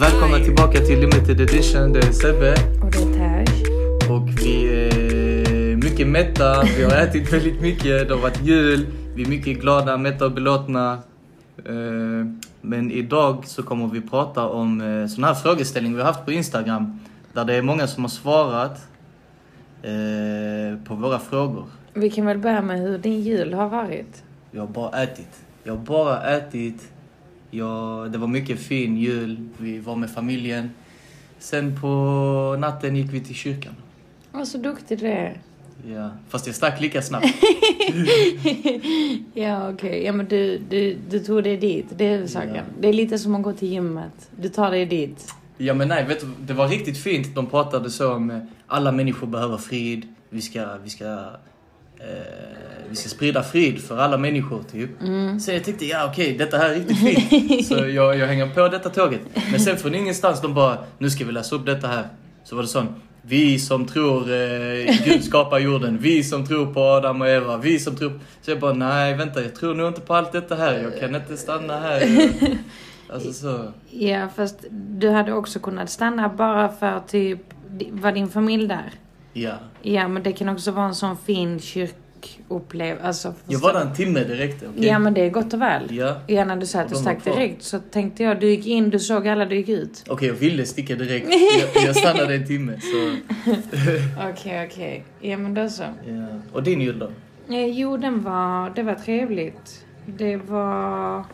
Välkomna tillbaka till Limited Edition. Det är Sebbe Och det är Tash. och vi är mycket mätta. Vi har ätit väldigt mycket. Det har varit jul. Vi är mycket glada, mätta och belåtna. Eh, Men idag så kommer vi prata om eh, sån här frågeställning vi har haft på Instagram. Där det är många som har svarat eh, på våra frågor. Vi kan väl börja med hur din jul har varit? Jag har bara ätit. Jag har bara ätit. Jag, det var mycket fin jul. Vi var med familjen. Sen på natten gick vi till kyrkan. Åh, så duktig du är. Ja. Fast jag stack lika snabbt. Ja, okej. Ja, men du, du, du tog dig dit. Det är huvudsaken. Ja. Det är lite som att gå till gymmet. Du tar dig dit. Ja men nej, vet du, det var riktigt fint. De pratade så om eh, alla människor behöver frid. Vi ska, vi ska, eh, vi ska sprida frid för alla människor typ. Så jag tänkte, ja okej, detta här är riktigt fint. så jag, jag hänger på detta tåget. Men sen från ingenstans, de bara, nu ska vi läsa upp detta här. Så var det sån, vi som tror eh, Gud skapar jorden, vi som tror på Adam och Eva, vi som tror... Så jag bara, nej vänta, jag tror nog inte på allt detta här. Jag kan inte stanna här. Alltså så. Ja, fast du hade också kunnat stanna bara för typ, var din familj där? Ja. Ja, men det kan också vara en sån fin kyrkupplevelse. Alltså, Jag var där en timme direkt. okej? Ja, men det är gott och väl. Ja. Ja, när du sa att Och du de stack var kvar. direkt så tänkte jag, du gick in, du såg alla, du gick ut. Okej, jag ville sticka direkt. Jag, jag stannade en timme. Så, Okej, okej. Ja, men då så. ja. Och din jul då? Eh, Jo, den var, det var trevligt. Det var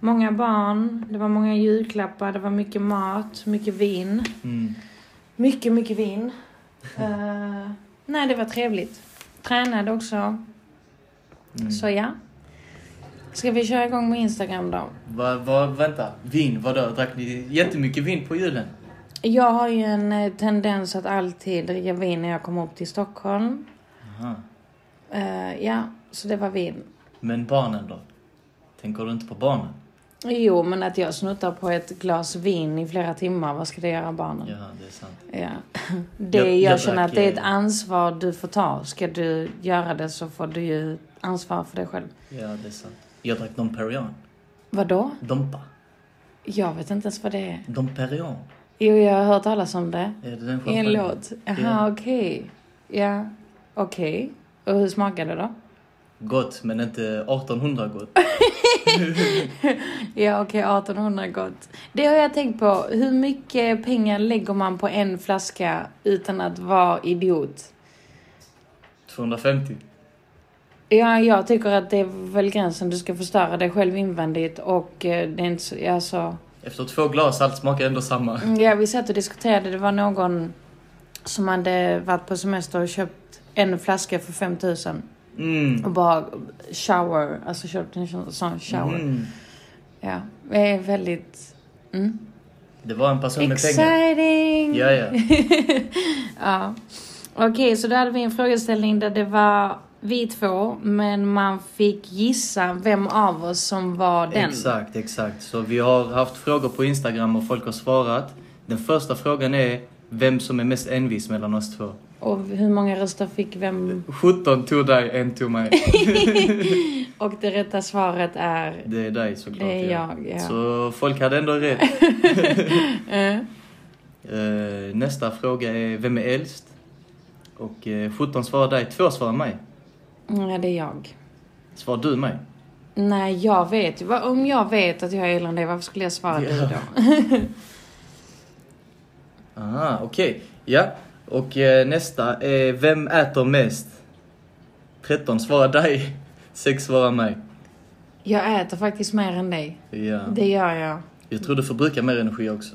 många barn, det var många julklappar, det var mycket mat, mycket vin. Mm. Mycket, mycket vin. Eh, nej, det var trevligt. Tränade också. Så ja. Ska vi köra igång med Instagram då? Va, va, vänta, vin, vadå? Drack ni jättemycket vin på julen? Jag har ju en eh, tendens att alltid dricka vin när jag kommer upp till Stockholm. Aha. Eh, ja, så det var vin. Men barnen då? Tänker du inte på barnen? Jo, men att jag snuttar på ett glas vin i flera timmar, vad ska det göra barnen? Ja, det är sant. Ja. Det, Jag- jag, jag känner drack, att det är ett eh, ansvar du får ta. Ska du göra det så får du ju ansvara för det själv. Ja, det är sant. Jag drack Dom Perignon. Vadå? Dompa. Jag vet inte ens vad det är. Dom Perignon. Jo, jag har hört talas om det. Är det den I en champagnen? låt. Jaha, Ja. okej. Ja, okej. Och hur smakade det då? Gott, men inte 1800 gott. Ja, okej, 1800 gott. Det har jag tänkt på. Hur mycket pengar lägger man på en flaska utan att vara idiot? 250. Ja, jag tycker att det är väl gränsen. Du ska förstöra dig själv invändigt och eh, det är inte så, alltså... Efter två glas, allt smakar ändå samma. Ja, vi satt och diskuterade. Det var någon som hade varit på semester och köpt en flaska för 5000 Mm. och bara shower, alltså köpt en sån shower. Mm. Ja, det är väldigt... Mm. Det var en person med pengar. Exciting! Ja, ja. Ja. Okej, så då hade vi en frågeställning där det var vi två, men man fick gissa vem av oss som var den. Exakt, exakt. Så vi har haft frågor på Instagram och folk har svarat. Den första frågan är vem som är mest envis mellan oss två. Och hur många röster fick vem? 17 tog dig, en tog mig. Och det rätta svaret är... Det är dig såklart. Det är ja. jag, ja. Så folk hade ändå rätt. Eh, nästa fråga är vem är äldst? Och eh, 17 svarar dig, 2 svarar mig. Nej, det är jag. Svarar du mig? Nej, jag vet ju. Vad- Om jag vet att jag är äldre än dig, varför skulle jag svara dig då? Aha, Ah, okej. Ja. Och eh, nästa är vem äter mest? 13 svarar dig, 6 svarar mig. Jag äter faktiskt mer än dig. Ja. Det gör jag. Jag tror du förbrukar mer energi också.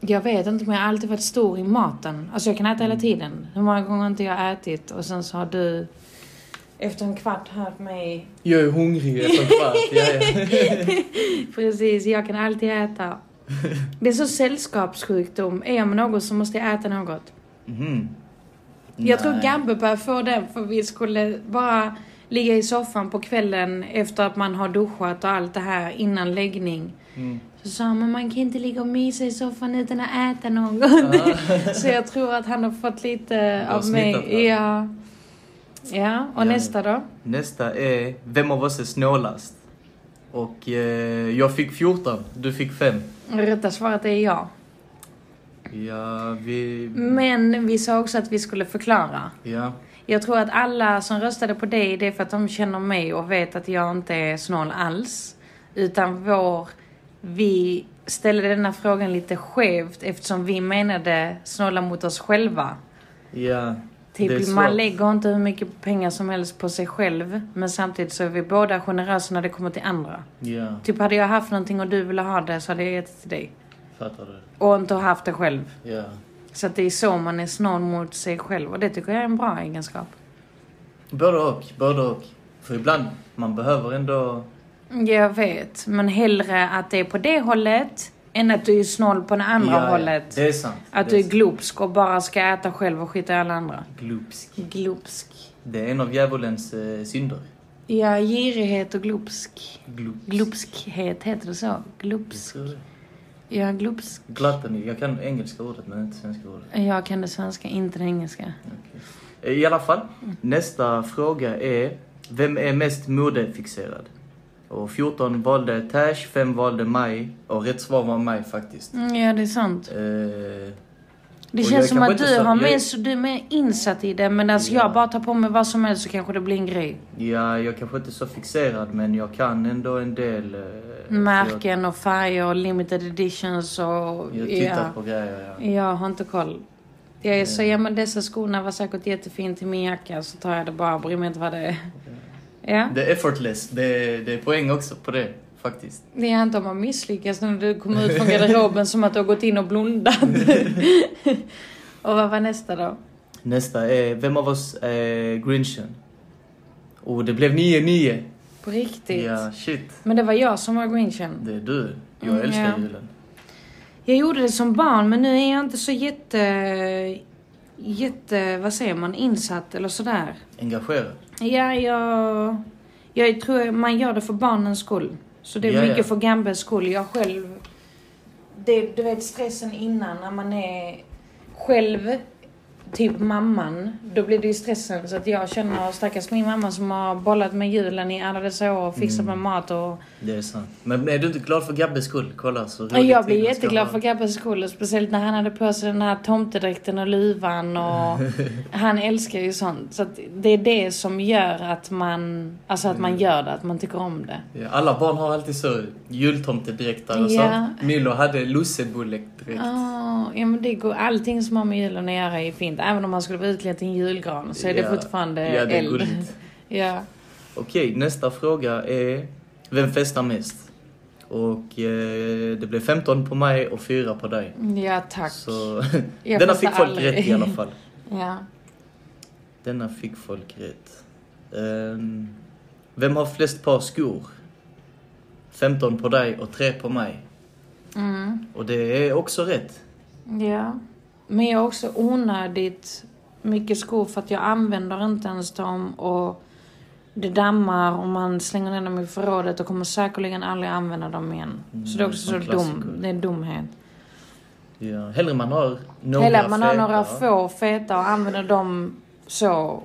Jag vet inte, men jag har alltid varit stor i maten. Alltså jag kan äta hela tiden. Hur många gånger har inte jag ätit och sen så har du efter en kvart hört mig... Jag är hungrig efter en kvart. Ja, ja. Precis, jag kan alltid äta. Det är så sällskapssjukdom. Är jag med något så måste jag äta något. Mhm. Jag tror Nej. Gabbe började få den för vi skulle bara ligga i soffan på kvällen efter att man har duschat och allt det här innan läggning. Mm. Så sa han, men man kan inte ligga och mysa i soffan utan att äta något. Ah. så jag tror att han har fått lite har av smittat mig. det. Ja. ja, och Ja. nästa då? Nästa är, vem av oss är snålast? Och eh, jag fick 14, du fick 5. Rätta svaret är ja. Ja, vi... Men vi sa också att vi skulle förklara. Ja. Jag tror att alla som röstade på dig, det är för att de känner mig och vet att jag inte är snål alls. Utan vår... Vi ställde denna frågan lite skevt eftersom vi menade snåla mot oss själva. Ja. det är Typ, svårt. man lägger inte hur mycket pengar som helst på sig själv. Men samtidigt så är vi båda generösa när det kommer till andra. Ja, Typ hade jag haft någonting och du ville ha det så hade jag gett det till dig. fattar du. Och inte haft det själv. Ja. Så att det är så man är snål mot sig själv och det tycker jag är en bra egenskap. Både och, både och. För ibland, man behöver ändå... Jag vet, men hellre att det är på det hållet än att du är snål på det andra Ja, ja, hållet. Det är sant. Att det du är är sant. glupsk och bara ska äta själv och skita i alla andra. glupsk. Glupsk. Det är en av djävulens eh, synder. Ja, girighet och glupsk. Glupsk. Glupskhet, heter det så? Glupsk. Tror du det? Ja, glupsk. Gluttony. Jag kan engelska ordet men inte svenska ordet. Jag kan det svenska, inte det engelska. Okej. I alla fall, nästa fråga är Vem är mest modefixerad? Och 14 valde Tash, 5 valde Maj och rätt svar var Maj faktiskt. Mm, Ja, det är sant. Eh, Det Och jag känns som kanske att inte du så- har jag- mer, så du är mer insatt i det medan Ja. jag bara tar på mig vad som helst så kanske det blir en grej. ja, jag kanske inte är så fixerad men jag kan ändå en del... eh, för Märken och färger och limited editions och... Jag, jag tittar ja. på grejer, ja. Jag har inte koll. Jag är så, ja men dessa skorna var säkert jättefin till min jacka så tar jag det bara, bryr mig inte vad det är. Ja. Det är effortless. Det är, det är poäng också på det, faktiskt. Det är inte om man misslyckas när du kommer ut från garderoben som att du har gått in och blundat. och vad var nästa då? Nästa är, vem av oss är grinchen? Och det blev 9-9. På riktigt? Ja, shit. Men det var jag som var grinchen. Det är du. Jag Mm, älskar ja. julen. Jag gjorde det som barn men nu är jag inte så jätte... Jätte... Vad säger man? Insatt eller sådär. Engagerad. Ja, jag... Jag tror man gör det för barnens skull. Så det är Ja, ja. mycket för Gambes skull. Jag själv... Det, du vet stressen innan när man är själv, typ mamman. Då blir det ju stressen. Så att jag känner stackars min mamma som har bollat med julen i alla dessa år och Mm. fixat med mat och... Det är sant. Men är du inte glad för Gabbes skull? Kolla så roligt jag blev tiden ska jätteglad vara. för Gabbes skull. och Speciellt när han hade på sig den här tomtedräkten och luvan och... han älskar ju sånt. Så att det är det som gör att man... Alltså att Mm. man gör det, att man tycker om det. Ja, alla barn har alltid så jultomtedräkter och Ja. sånt. Alltså, Milo hade lussebulledräkt. Ja, ja men det går, allting som har med julen att göra är fint. Även om man skulle vara utklädd till en julgran så är Ja. det fortfarande Ja, det är eld. gulligt. ja. Okej, nästa fråga är Vem festar mest? Och eh, det blev 15 på mig och 4 på dig. ja, tack. Så Jag denna festar fick folk aldrig. rätt i alla fall. Ja. Denna fick folk rätt. Ehm, vem har flest par skor? 15 på dig och 3 på mig. Mm. Och det är också rätt. ja. Men jag har också onödigt mycket skor för att jag använder inte ens dem och det dammar och man slänger ner dem i förrådet och kommer säkerligen aldrig använda dem igen. Så det är Mm, också det så är en dum, klassiker. det är dumhet. Ja. Hellre man har några Eller att man har feta. några få feta och använder dem så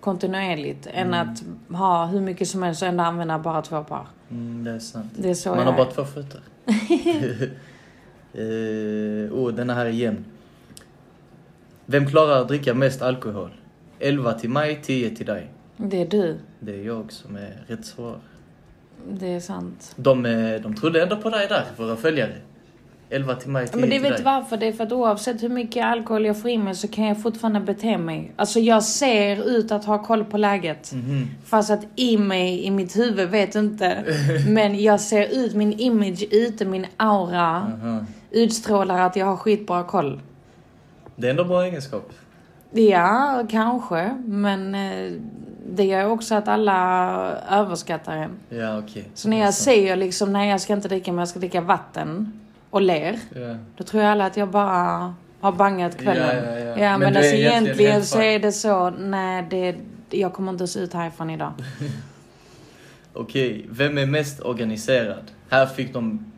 kontinuerligt än att ha hur mycket som helst och ändå använda bara två par. Mm, det är sant. Det är så man jag har bara är. två fötter. uh, oh, denna här är jämn. Vem klarar att dricka mest alkohol? 11 till mig, 10 till dig. Det är du. Det är jag som är rätt svar. Det är sant. De, eh, de trodde ändå på dig där, våra följare. 11 till mig, 10 Men det till dig. vet du varför? Det är för att oavsett hur mycket alkohol jag får i mig så kan jag fortfarande bete mig. Alltså jag ser ut att ha koll på läget. Mhm. Fast att i mig, i mitt huvud, vet inte. Men jag ser ut, min image ute, min aura Aha. utstrålar att jag har skitbra koll. Det är ändå bra egenskap. Ja, kanske. Men eh, det gör också att alla överskattar en. Ja, okej. Så när jag säger liksom nej jag ska inte dricka men jag ska dricka vatten och ler. Ja. Då tror alla att jag bara har bangat kvällen. Ja, ja, ja. men, Men du är alltså egentligen egentligen helt så är det så. Nej, det, jag kommer inte ens ut härifrån idag. Okej, vem är mest organiserad? Här fick de...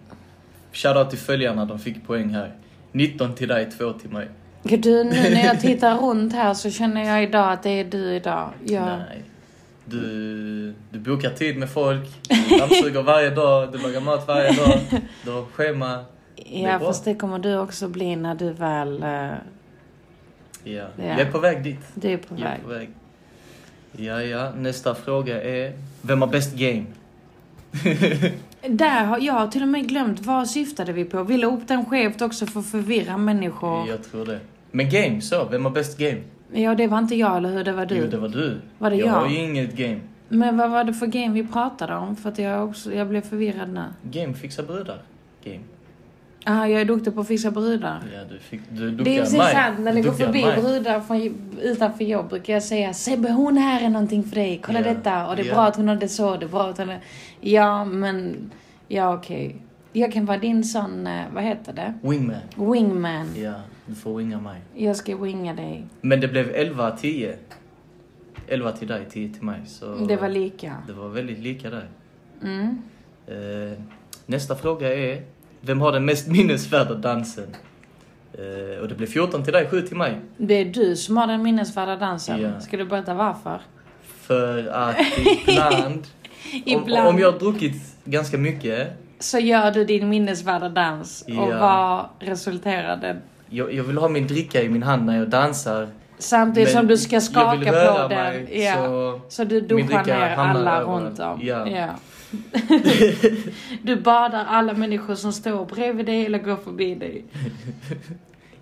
Shoutout till följarna, de fick poäng här. 19 till dig, 2 till mig. Gud, Du, nu när jag tittar runt här så känner jag idag att det är du idag. Jag, Nej. Du, du bokar tid med folk, du dammsuger varje dag, du lagar mat varje dag, du har schema. Det är Ja, bra. fast det kommer du också bli när du väl... eh, Ja. Ja. Jag är på väg dit. Du är på Jag väg. är på väg. Ja, ja. Nästa fråga är... Vem har bäst game? Där har jag till och med glömt, vad syftade vi på? Vi la upp den skevt också för att förvirra människor. Jag tror det. Men game, så. Vem har bäst game? Ja, det var inte jag, eller hur? Det var du. Jo, det var du. Var det jag? jag? har ju inget game. Men vad var det för game vi pratade om? För att jag, också, jag blev förvirrad nu. Game fixar brudar. Game. Ah, jag är duktig på att fixa brudar. Ja, du, fick, du duckar Det är precis mig. sant, när Du det går duckar förbi Alltså- mig. brudar från, utanför jobb brukar jag säga Sebbe hon här är någonting för dig, kolla Ja. detta och det är Ja. bra att hon har det så, det är bra att hon är... Ja men, ja okej. Jag kan vara din sån, eh, vad heter det? Wingman. Wingman. Ja, du får winga mig. Jag ska winga dig. Men det blev 11-10. 11 till dig, 10 till mig. Så Det var lika. det var väldigt lika där. Mm. Eh, nästa fråga är, vem har den mest minnesvärda dansen? Eh, och det blev 14 till dig, 7 till mig. Det är du som har den minnesvärda dansen. Ja. Ska du berätta varför? För att ibland, Ibland. Om, om jag har druckit ganska mycket, Så gör du din minnesvärda dans och Ja. vad resulterar den? jag, jag vill ha min dricka i min hand när jag dansar. Samtidigt Men som du ska skaka jag vill röra på den. mig, ja. så- Så du Min duschar dricka ner hamnar alla överallt. runt om. Ja. du badar alla människor som står bredvid dig eller går förbi dig.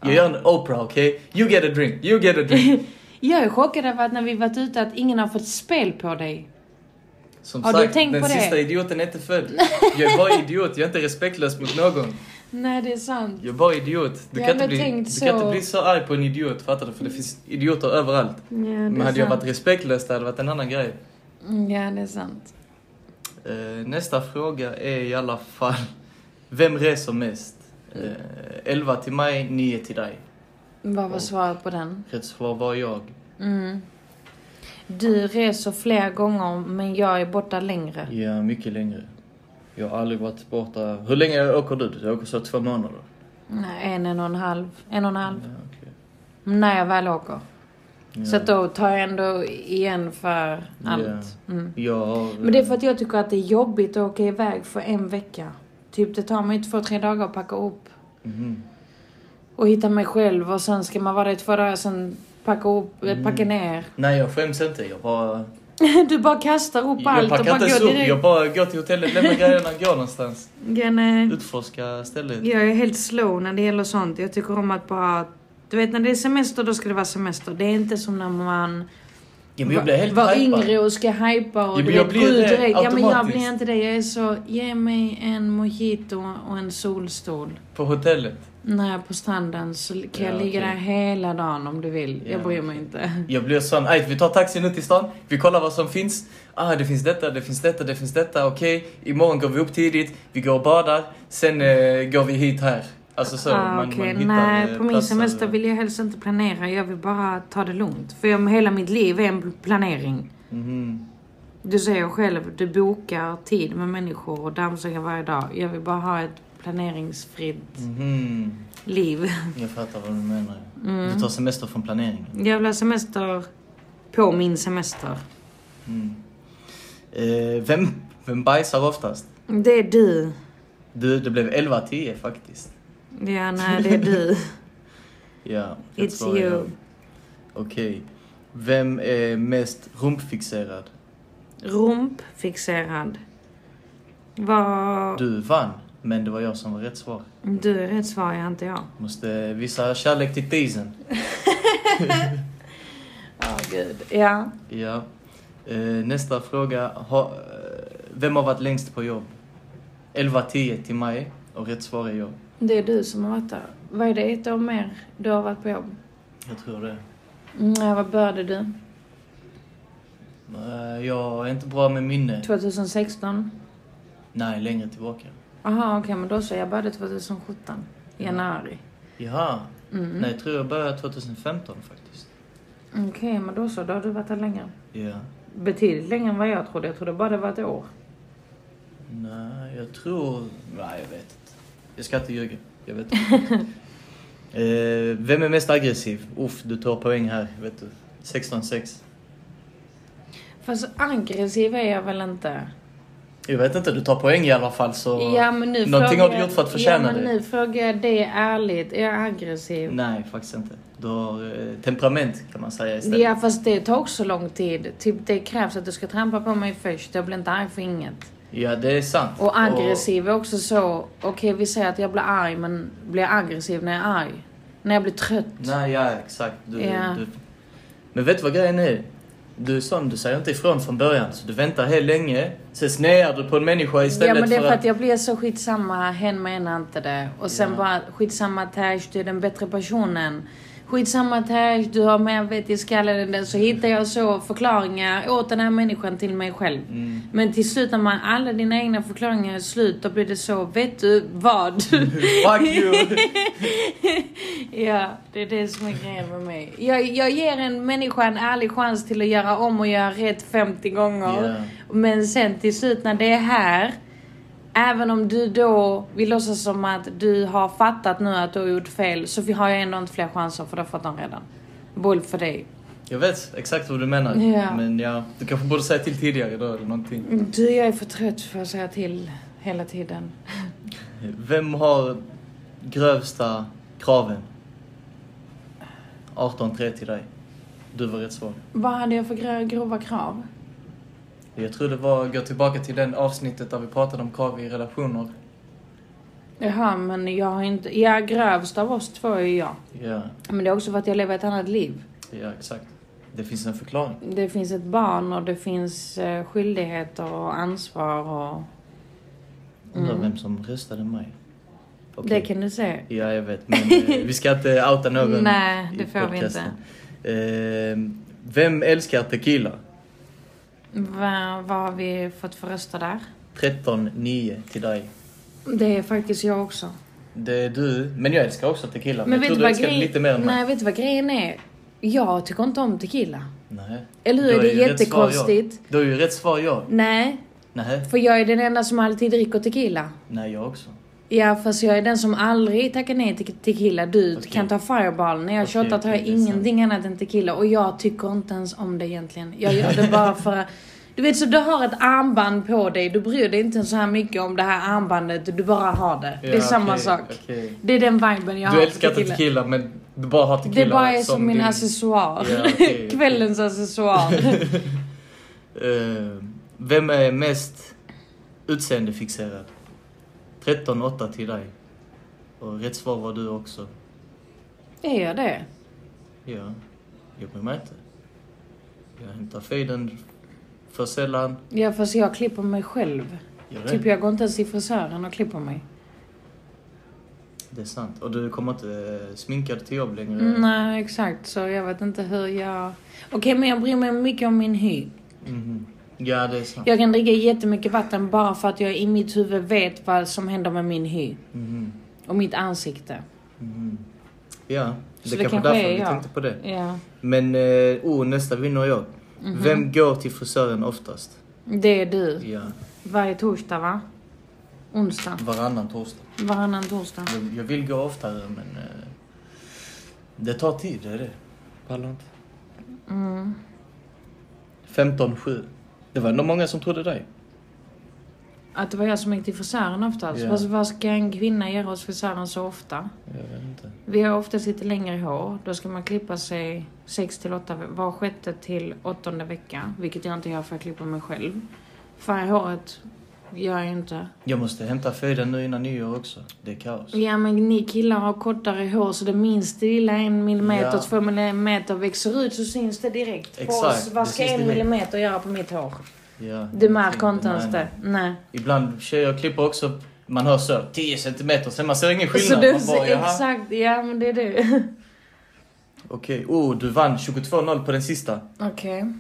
Jag gör en Oprah, okej? You get a drink, you get a drink. Jag är chockad över att när vi varit ute att ingen har fått spel på dig. Som Har du sagt, tänkt den på det? sista idioten är inte född. Jag är bara idiot, jag är inte respektlös mot någon. Nej, det är sant. Jag är bara idiot. Du, Jag kan inte, hade bli, tänkt du kan så. inte bli så arg på en idiot, fattar du? För det finns idioter överallt. Ja, det Men är hade jag sant. varit respektlös, det hade varit en annan grej. Mm, Ja, det är sant. Eh, nästa fråga är i alla fall, vem reser mest? Eh, 11 till mig, 9 till dig. Vad var svaret på den? Rätt svar var jag. Mm. Du reser flera gånger men jag är borta längre. Ja, mycket längre. Jag har aldrig varit borta. Hur länge åker du? Jag åker så två månader. Nej, En, en och en halv. En och en Ja, halv. okej. När jag väl åker. Ja. Så att då tar jag ändå igen för allt. Mm. Jag har, Men det är för att jag tycker att det är jobbigt att åka iväg för en vecka. Typ det tar mig två, tre dagar att packa upp. Mhm. Och hitta mig själv och sen ska man vara där i två dagar sen packa upp, eh, Mm. packa ner. Nej, jag skäms inte. Jag bara... Du bara kastar upp Jag allt och packar bara inte ens går upp. direkt. Jag bara går till hotellet, lämnar grejerna, går någonstans. Ja, nej. Utforska stället. Jag är helt slow när det gäller sånt. Jag tycker om att bara... Du vet när det är semester då ska det vara semester. Det är inte som när man Ja, men jag blir helt var var hypad. yngre och ska hypa och Ja, du men jag vet, blir gå ut det direkt. Ja men jag automatiskt. blir inte det. Jag är så, ge mig en mojito och en solstol. På hotellet. När jag är på stranden så kan jag Ja, ligga okej. där hela dagen om du vill. Ja, jag bryr mig inte. Jag blir sån, "Ej, vi tar taxin ut till stan, vi kollar vad som finns. Ah, det finns detta, det finns detta, det finns detta, okej. Imorgon går vi upp tidigt, vi går och badar, sen eh, går vi hit här. Alltså så, ah, okej. Nej, eh, på min semester vill jag helst inte planera. Jag vill bara ta det lugnt. För jag, hela mitt liv är en planering. Mhm. Du säger själv, du bokar tid med människor och dammsuger varje dag. Jag vill bara ha ett planeringsfritt Mhm. liv. Jag fattar vad du menar. Mm. Du tar semester från planeringen. Jag vill ha semester på min semester. Mm. Eh, vem, vem bajsar oftast? Det är du. Du, det blev 11-10 faktiskt. Ja, nej, det är du. Ja, rätt It's svar är jag. you. Okej. Vem är mest rumpfixerad? Rumpfixerad. Vad... Du vann, men det var jag som var rätt svar. Du är rätt svar, jag inte jag. Måste visa kärlek till teasern. Ja, gud. Ja. Ja. Eh, nästa fråga. Ha, eh, vem har varit längst på jobb? 11-10 till mig och rätt svar är jag. Det är du som har varit där. Vad är det, ett år mer du har varit på jobb? Jag tror det. När vad började du? Eh, jag är inte bra med minne. 2016? Nej, längre tillbaka. Aha, okej, men då så. Jag började 2017. Januari. Jaha. Mm. Nej, jag tror jag började 2015 faktiskt. Okej, men då så. Då har du varit där längre. Ja. Betydligt längre än vad jag trodde. Jag trodde bara det var ett år. Nej, jag tror... Nej, jag vet inte. Jag ska inte ljuga. Jag vet inte. eh, vem är mest aggressiv? Uff, du tar poäng här, vet du. 16-6. Fast aggressiv är jag väl inte? Jag vet inte, du tar poäng i alla fall så... Ja, men nu Någonting frågar har du jag- gjort för att förtjäna ja, men det. nu frågar jag dig ärligt. Är jag aggressiv? Nej, faktiskt inte. Du har eh, temperament kan man säga istället. Ja fast det tar också lång tid. Typ det krävs att du ska trampa på mig först. Jag blir inte arg för inget. Ja, det är sant. Och aggressiv är också så. Okej vi säger att jag blir arg men blir jag aggressiv när jag är arg? När jag blir trött? Nej, ja exakt. Du, Ja. du... Men vet du vad grejen är? Du är sån, du säger inte ifrån från början. Så du väntar helt länge, sen snear du på en människa Ja istället men det är för för att jag blir så skitsamma, hen menar inte det. Och sen Ja. bara skitsamma Tash, du är den bättre personen. Skitsamma Tash, du har mer vett i skallen än den. Så hittar jag så förklaringar åt den här människan till mig själv. Mm. Men till slut när man, alla dina egna förklaringar är slut, då blir det så, vet du vad? Fuck you! ja, det är det som är grejen med mig. Jag, jag ger en människa en ärlig chans till att göra om och göra rätt 50 gånger. Ja. Men sen till slut när det är här, även om du då vill låtsas som att du har fattat nu att du har gjort fel, så vi har jag ändå inte fler chanser för det har fått dem redan. Bull för dig. Jag vet exakt vad du menar. Ja. Men ja, du kanske borde säga till tidigare då eller någonting. Du, jag är för trött för att säga till hela tiden. Vem har grövsta kraven? 18-3 till dig. Du var rätt svag. Vad hade jag för gro- grova krav? Jag tror det var, gå tillbaka till den avsnittet där vi pratade om krav i relationer. Jaha, men jag har inte... Ja, grövst av oss två är jag. Ja, Men det är också för att jag lever ett annat liv. ja exakt. Det finns en förklaring. Det finns ett barn och det finns eh, skyldigheter och ansvar och... Undrar vem som röstade mig. Okej. Mm. Det kan du se. Ja, jag vet. Men eh, vi ska inte outa någon Nej, i det får vi podcasten. Eh, vem älskar tequila? Va, vad har vi fått för röster där? 13-9 till dig. Det är faktiskt jag också. Det är du. Men jag älskar också tequila. Men, jag tror du du älskar det lite mer än mig. Nej, vet du vad grejen är? Jag tycker inte om tequila. Nej. Eller hur? Då Är det ju rätt jättekonstigt? svar jag. Då är ju rätt svar jag. Nej, Nej. för jag är den enda som alltid dricker tequila. Nej, jag också. Ja, fast jag är den som aldrig tackar nej till tequila. Du Okej. kan ta fireball. När jag Okej, tjötar tar jag okej, det är ingenting annat än tequila. Och jag tycker inte ens om det egentligen. Jag gör det bara för att... Du vet, så du har ett armband på dig. Du bryr dig inte så här mycket om det här armbandet. Du bara har det. det är Ja, samma okej, sak. okej. Det är den viben jag har Du för älskar inte tequila, men du bara har tequila Det bara är som, min din- accessoar. Ja, okej, okej. Kvällens accessoar. Eh, vem är mest utseendefixerad? 13-8 till dig. Och rätt svar var du också. är jag det? Ja, jag bryr mig inte. Jag hämtar fejden för sällan. Ja, fast jag klipper mig själv. Gör Typ det. jag går inte ens till frisören och klipper mig. det är sant. Och du kommer inte eh, sminkad till jobb längre. Nej, exakt. Så jag vet inte hur jag... Okej, men jag bryr mig mycket om min hy. Mhm. Ja, det är sant. Jag kan dricka jättemycket vatten bara för att jag i mitt huvud vet vad som händer med min hy. Mhm. Och mitt ansikte. Mhm. Ja, det, Så det kanske är kanske därför är vi jag. tänkte på det. Ja. Men, eh, oh, nästa vinner jag. Mhm. Vem går till frisören oftast? Det är du. Ja, Varje torsdag, va? Onsdag. varannan torsdag. Varannan torsdag. Jag, jag vill gå oftare men eh, det tar tid, det är det. Pallar inte. Mm. 15-7. Det var ändå många som trodde dig. Att det var jag som gick till frisören oftast. Ja. Fast vad ska en kvinna göra hos frisören så ofta? Jag vet inte. Vi har oftast lite längre hår. Då ska man klippa sig 6 till 8, var sjätte till åttonde vecka. Vilket jag inte gör för jag klipper mig själv. Färga håret gör jag inte. Jag måste hämta fejden nu innan nyår också. Det är kaos. Ja men ni killar har kortare hår så det minsta lilla en millimeter, Ja. två millimeter växer ut så syns det direkt. På Exakt, oss, vad det ska syns en direkt. millimeter göra på mitt hår? Ja, Du märker fint. inte ens Nej, det. Nej. Ibland tjejer klipper också, man hör så 10 centimeter, sen man ser ingen Så skillnad. du, Man bara, jaha. exakt, ja men det är du. Okej, oh du vann 22-0 på den sista. Okej.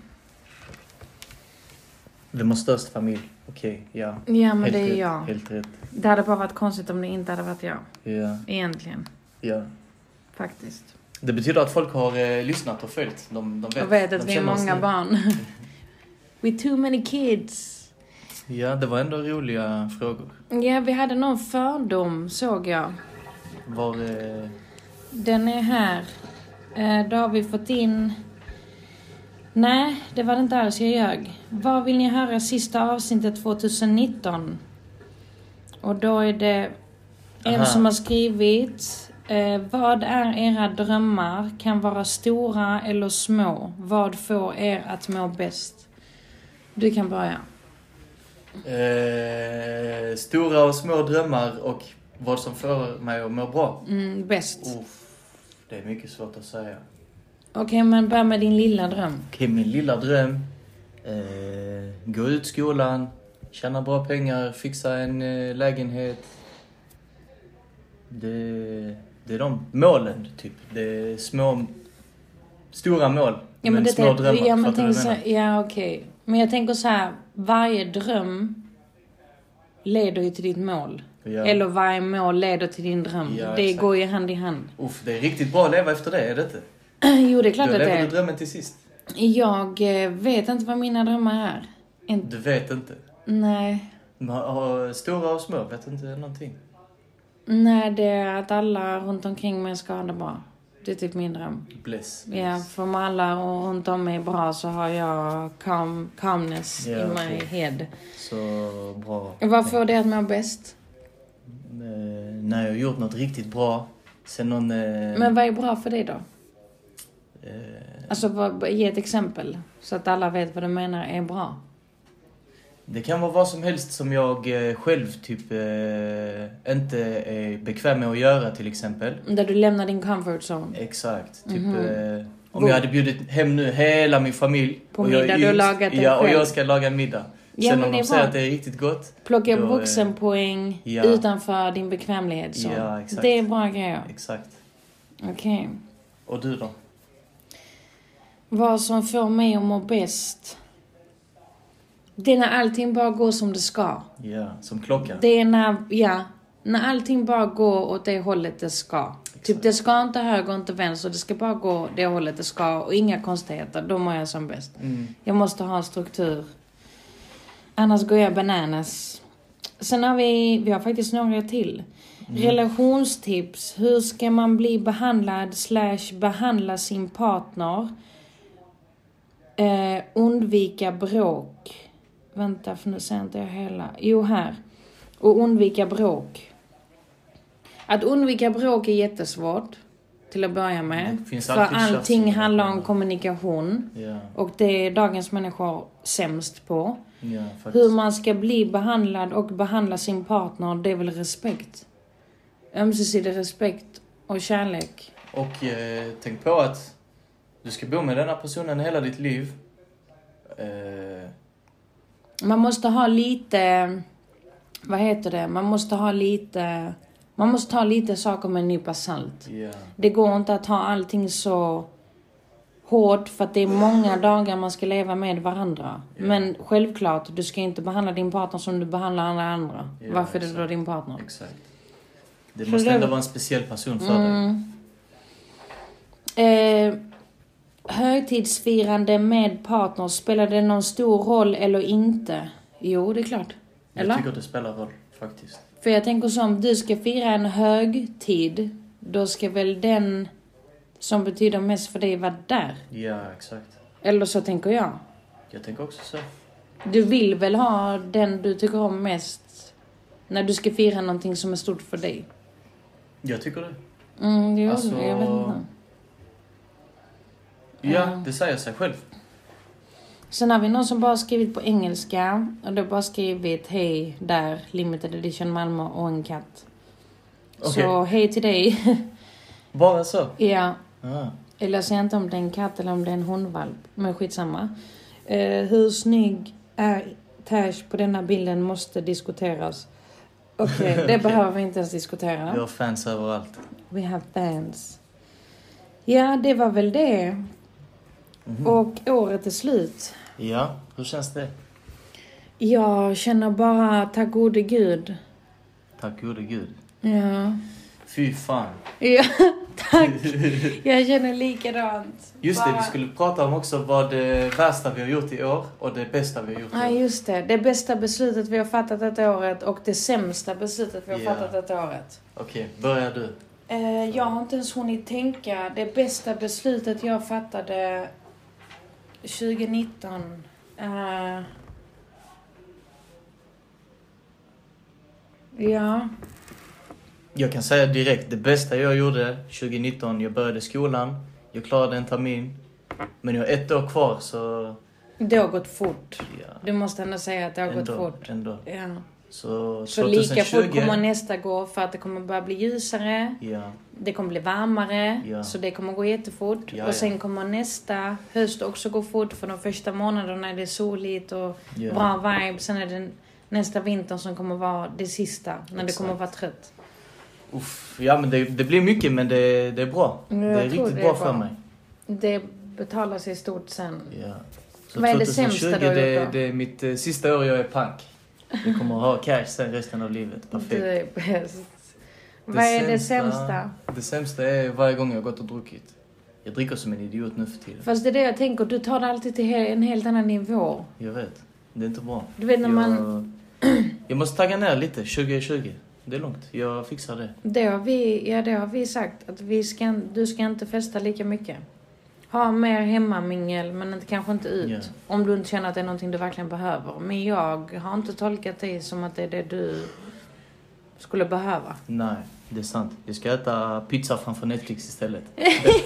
Vem har störst familj? Okej, ja. Ja men Helt det är rätt, jag. Helt rätt. Det hade bara varit konstigt om det inte hade varit jag. Ja, Egentligen. ja. Faktiskt. Det betyder att folk har eh, lyssnat och följt. De, de vet, Jag vet de att vi är känner oss många nu. barn. With too many kids. Ja, det var ändå roliga frågor. Ja, vi hade någon fördom såg jag. Var... Eh, Den är här. Eh, Då har vi fått in Nej, det var det inte alls. Jag ljög. Vad vill ni höra i sista avsnittet 2019? Och då är det en Aha. som har skrivit. Eh, vad är era drömmar? Kan vara stora eller små. Vad får er att må bäst? Du kan börja. Eh, stora och små drömmar och vad som får mig att må bra. Mm, bäst. Uff, det är mycket svårt att säga. Okej, men börja med din lilla dröm. Okej, min lilla dröm. Eh, gå ut skolan, tjäna bra pengar, fixa en eh, lägenhet. Det, det är de målen, typ. Det är små... Stora mål, Ja, men men det små tänk- drömmar. Ja, men Fattar du tänk vad jag så, menar? ja okej. Men jag tänker så här, varje dröm leder ju till ditt mål. Ja. Eller varje mål leder till din dröm. Ja, det exakt. går ju hand i hand. Uff, det är riktigt bra att leva efter det, är det inte? jo, det är klart Du att det lever är. drömmen till sist. Jag eh, vet inte vad mina drömmar är. Inte- Du vet inte. Nej. Man har- Stora och små vet inte någonting. Nej, det är att alla runt omkring mig ska ha det bra. Det är typ min dröm. Bless. Ja, för om alla runt om mig är bra så har jag calm, calmness Ja, i okej. my head. Så bra. Vad får det att må bäst? Eh, när jag har gjort något riktigt bra. Sen någon... Eh, Men vad är bra för dig då? eh, Alltså vad- ge ett exempel så att alla vet vad du menar är bra. det kan vara vad som helst som jag eh, själv typ eh, inte är bekväm med att göra till exempel. Där du lämnar din comfort zone. Exakt. Typ, Mhm. eh, om Vår- jag hade bjudit hem nu hela min familj. På och jag är middag, du har yngst, lagat den Ja, och själv. jag ska laga middag. Ja, Sen men om det är de säger bra. att det är riktigt gott. Plocka Då, upp eh, vuxenpoäng ja. utanför din bekvämlighetszon. Ja, exakt. det är bra grejer. Exakt. Okej. Och du då? Vad som får mig att må bäst. Det är när allting bara går som det ska. Ja, som klockan. Det är när, ja, när allting bara går åt det hållet det ska. Typ det ska inte höger, inte vänster. Det ska bara gå det hållet det ska och inga konstigheter. Då mår jag som bäst. Mm. Jag måste ha en struktur. Annars går jag bananas. Sen har vi, vi har faktiskt några till. Mm. Relationstips. Hur ska man bli behandlad slash behandla sin partner? Eh, undvika bråk. Vänta, för nu ser inte jag hela. Jo, här. Och undvika bråk. Att undvika bråk är jättesvårt. Till att börja med. Det finns För alltid tjafs i allting relationer. handlar om kommunikation. Ja, Och det är dagens människor sämst på. ja faktiskt. Hur man ska bli behandlad och behandla sin partner, det är väl respekt? Ömsesidig respekt och kärlek. Och eh, tänk på att du ska bo med denna personen hela ditt liv. Eh, Man måste ha lite... Vad heter det? Man måste ha lite... Man måste ta lite saker med en nypa salt. ja, Det går inte att ha allting så hårt för att det är många dagar man ska leva med varandra. Ja. Men självklart, du ska inte behandla din partner som du behandlar alla andra. Ja, Varför är det då exakt. din partner? exakt. Det Så måste det- ändå vara en speciell person för dig. Mm. Eh, högtidsfirande med partner, spelar det någon stor roll eller inte? Jo, det är klart. Jag Eller? tycker det spelar roll, faktiskt. För jag tänker så om du ska fira en högtid, då ska väl den som betyder mest för dig vara där? Ja, exakt. Eller så tänker jag. Jag tänker också så. Du vill väl ha den du tycker om mest när du ska fira någonting som är stort för dig? Jag tycker det. Mm, jo, Alltså- jag vet inte. Ja, det säger sig själv. Sen har vi någon som bara skrivit på engelska och då bara skrivit hej där, limited edition Malmö och en katt. Så Okej. hej till dig. Bara så. ja, Ah. eller jag säger inte om det är en katt eller om det är en hundvalp, men skitsamma. Eh, hur snygg är Tash på denna bilden måste diskuteras. Okej, det behöver vi inte ens diskutera. Vi har fans överallt. We have fans. Ja, det var väl det. Och året är slut. Ja, hur känns det? Jag känner bara tack gode gud. Tack gode gud. Ja. Fy fan. ja, tack. Jag känner likadant. Just det, Bara- vi skulle prata om också vad det värsta vi har gjort i år och det bästa vi har gjort i Ja, år. just det. Det bästa beslutet vi har fattat detta året och det sämsta beslutet vi har Ja. fattat detta året. Okej, börja du. Eh, jag har inte ens hunnit tänka. Det bästa beslutet jag fattade 2019. eh, ja. Jag kan säga direkt, det bästa jag gjorde 2019, jag började skolan, jag klarade en termin. Men jag har ett år kvar så... Det har gått fort. Ja, Du måste ändå säga att det har ändå, gått fort. ändå. Ja. Så Så lika fort 2020... kommer nästa gå för att det kommer börja bli ljusare. Ja, Det kommer bli varmare. Ja. Så det kommer gå jättefort. Ja, ja. och sen kommer nästa höst också gå fort för de första månaderna är det soligt och Ja. bra vibe. Sen är det nästa vinter som kommer vara det sista. När du Exakt. kommer vara trött. uff, ja men det, det blir mycket men det, det är bra. Ja, det jag är tror riktigt det är bra, bra. för mig. Det betalar sig stort sen. Ja. Så Vad är det 2020, sämsta du har det, gjort då? det är mitt eh, sista år jag är punk. Jag kommer att ha cash sen resten av livet. Du Perfekt. är bäst. Vad är det sämsta? Det sämsta är varje gång jag har gått och druckit. Jag dricker som en idiot nu för tiden. Fast det är det jag tänker, du tar det alltid till he- en helt annan nivå. Jag vet. Det är inte bra. Du vet när man... Jag, jag måste tagga ner lite. 2020. Det är lugnt. Jag fixar det. Det har vi, ja, det har vi sagt, att vi ska, du ska inte festa lika mycket. Ha mer hemmamingel, men inte, kanske inte ut. Ja. Om du inte känner att det är någonting du verkligen behöver. Men jag har inte tolkat det som att det är det du skulle behöva. Nej, det är sant. Jag ska äta pizza framför Netflix istället. Bättre.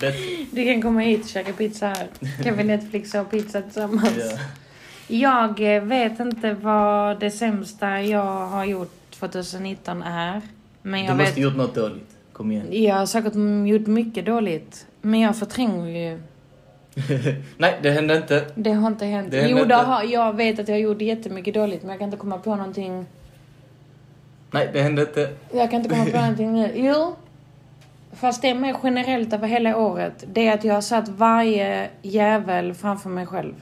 Bättre. Du kan komma hit och käka pizza här. Kan vi Netflixa och pizza tillsammans? Ja. Jag eh, vet inte vad det sämsta jag har gjort 2019 är. Men jag Du vet... måste gjort något dåligt. Kom igen. Jag har säkert m- gjort mycket dåligt. Men jag förtränger ju. Nej, det hände inte. Det har inte hänt. Det händer jo, inte. det har, jag vet att jag gjorde jättemycket dåligt. Men jag kan inte komma på någonting. Nej, det hände inte. Jag kan inte komma på någonting nu. Jo. Fast det är mer generellt över hela året. Det är att jag har satt varje jävel framför mig själv.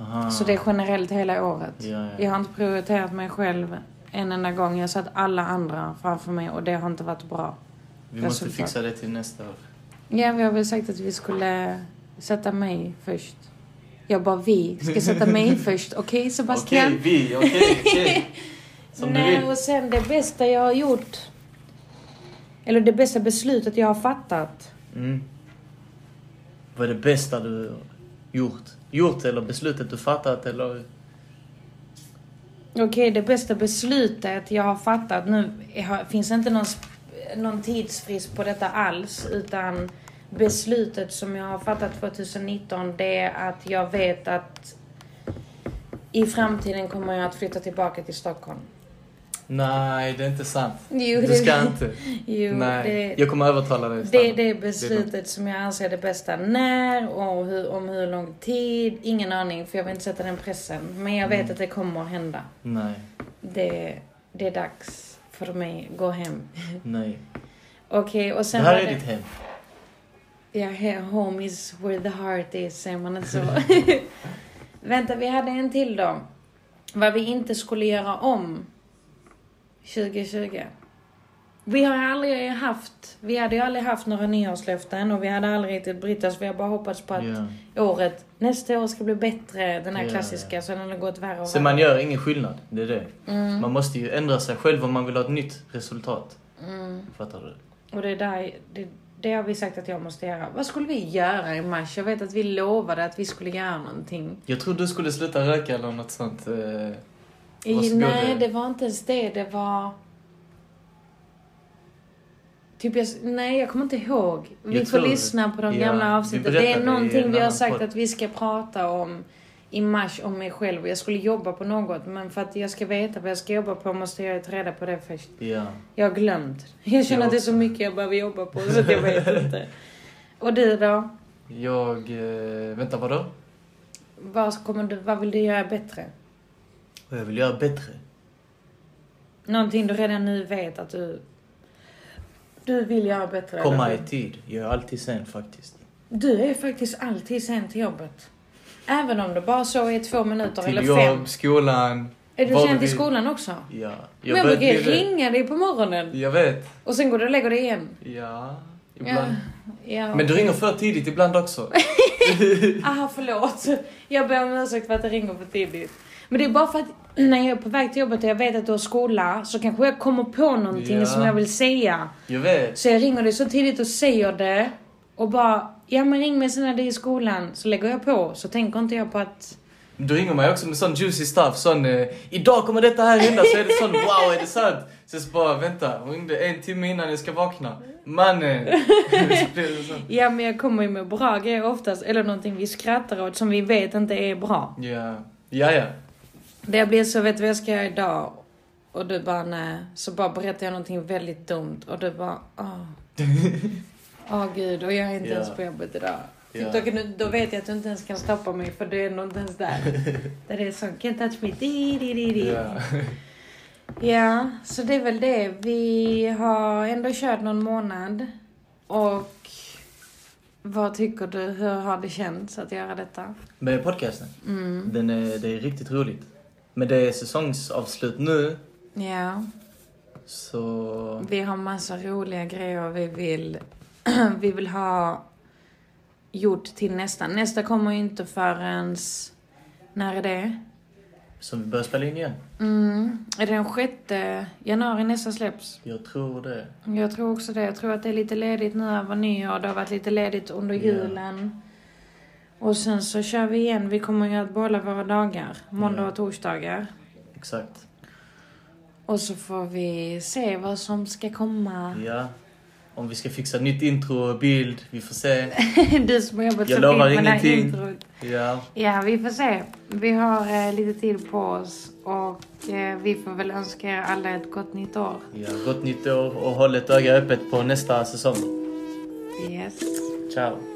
Aha. Så det är generellt hela året. Ja, ja. Jag har inte prioriterat mig själv en enda gång. Jag har satt alla andra framför mig och det har inte varit bra. Vi måste resultat. fixa det till nästa år. Ja, vi har väl sagt att vi skulle sätta mig först. Jag bara vi ska sätta mig först. Okej Sebastian? Okej, vi. Okej, okej. Som du Nej, vill. och sen det bästa jag har gjort. Eller det bästa beslutet jag har fattat. Mm. Vad är det bästa du gjort? Gjort eller beslutet du fattat eller? Okej, det bästa beslutet jag har fattat nu har- finns inte någon, sp- någon tidsfrist på detta alls utan beslutet som jag har fattat 2019 det är att jag vet att i framtiden kommer jag att flytta tillbaka till Stockholm. Nej, det är inte sant. Jo, du det- ska inte. Jo, Nej, det, jag kommer övertala dig. att det, stanna. det är beslutet som jag anser är det bästa. När och hur, om hur lång tid, ingen aning för jag vill inte sätta den pressen. Men jag vet Mm. att det kommer att hända. Nej, Det, det är dags för mig att gå hem. nej. Okej, och Det sen här var är ditt hem. Ja, he- home is where the heart is, säger man inte så? Vänta, vi hade en till då. Vad vi inte skulle göra om 2020. Vi har aldrig haft, vi hade ju aldrig haft några nyårslöften och vi hade aldrig riktigt brytt oss. Vi har bara hoppats på att Ja. året, nästa år ska bli bättre. Den här Ja, klassiska, så den har gått värre och Så värre. man gör ingen skillnad, det är det. Mm. Man måste ju ändra sig själv om man vill ha ett nytt resultat. Mm. Fattar du? Och det är där, det, det har vi sagt att jag måste göra. Vad skulle vi göra i mars? Jag vet att vi lovade att vi skulle göra någonting. Jag tror du skulle sluta röka eller något sånt. eh, Vad I, skulle nej, det- det var inte ens det. Det var... Typ jag, nej, jag kommer inte ihåg. Vi Jag får tror- lyssna på de ja, vi gamla avsnitten. Det berättade är i någonting en vi har annan sagt podd. att vi ska prata om i mars om mig själv. Jag skulle jobba på något, men för att jag ska veta vad jag ska jobba på måste jag ta reda på det först. Ja. Jag har glömt. Jag känner Jag att det är så också. mycket jag behöver jobba på så att jag vet inte. Och du då? Jag... Eh, vänta, vadå? Vad, kommer du, vad vill du göra bättre? Vad jag vill göra bättre? Någonting du redan nu vet att du... Du vill göra bättre. Komma eller? i tid. Jag är alltid sen faktiskt. Du är faktiskt alltid sen till jobbet. Även om det bara så är två minuter eller Till fem. jobb, skolan... Är du vad sen vill. till skolan också? Ja. Men jag vet- brukar ju vill det. ringa dig på morgonen. Jag vet. Och sen går du och lägger dig igen. Ja. Ja, Ibland. ja. Men du ringer för tidigt ibland också. Aha, förlåt. Jag ber om ursäkt för att jag ringer för tidigt. Men det är bara för att när jag är på väg till jobbet och jag vet att du har skola så kanske jag kommer på någonting Ja. som jag vill säga. Jag vet. Så jag ringer dig så tidigt och säger det och bara ja men ring mig sen när det är i skolan, så lägger jag på. Så tänker inte jag på att, Då ringer man ju också med sån juicy stuff, sån eh, idag kommer detta här hända så är det sån wow är det sant? Sen så bara vänta, hon ringde en timme innan jag ska vakna. Mannen! Så blir det sån. ja men jag kommer ju med bra grejer oftast, eller någonting vi skrattar åt som vi vet inte är bra. Ja, ja, ja. Det blir så, vet du vad jag ska göra idag? Och du bara nej. Så bara berättar jag någonting väldigt dumt och du bara åh. Åh gud, och jag är inte Ja. ens på jobbet idag. Typ, Ja. Då, kan du, då vet jag att du inte ens kan stoppa mig för du är nog inte ens där. där det är sån can't touch me. Di, di, di, di. ja. Ja, så det är väl det. Vi har ändå kört någon månad. Och vad tycker du? Hur har det känts att göra detta? Med podcasten? Den är, det är riktigt roligt. Men det är säsongsavslut nu, Ja. så... Vi har massa roliga grejer vi vill, vi vill ha gjort till nästa. Nästa kommer ju inte förrän... När är det? Som vi börjar spela in igen. Mm. Är det den sjätte januari nästa släpps? Jag tror det. Jag tror också det. Jag tror att det är lite ledigt nu över nyår. Det har varit lite ledigt under Ja. julen. Och sen så kör vi igen. Vi kommer ju att bolla våra dagar. Måndag Ja. och torsdagar. Exakt. Och så får vi se vad som ska komma. Ja. Om vi ska fixa nytt intro och bild, vi får se. Du som har jobbat Mm. Jag så lovar fint med det här ingenting. introt. Ja. Ja, vi får se. Vi har eh, lite tid på oss och eh, vi får väl önska er alla ett gott nytt år. ja. Gott nytt år och håll ett öga öppet på nästa säsong. Yes. Ciao.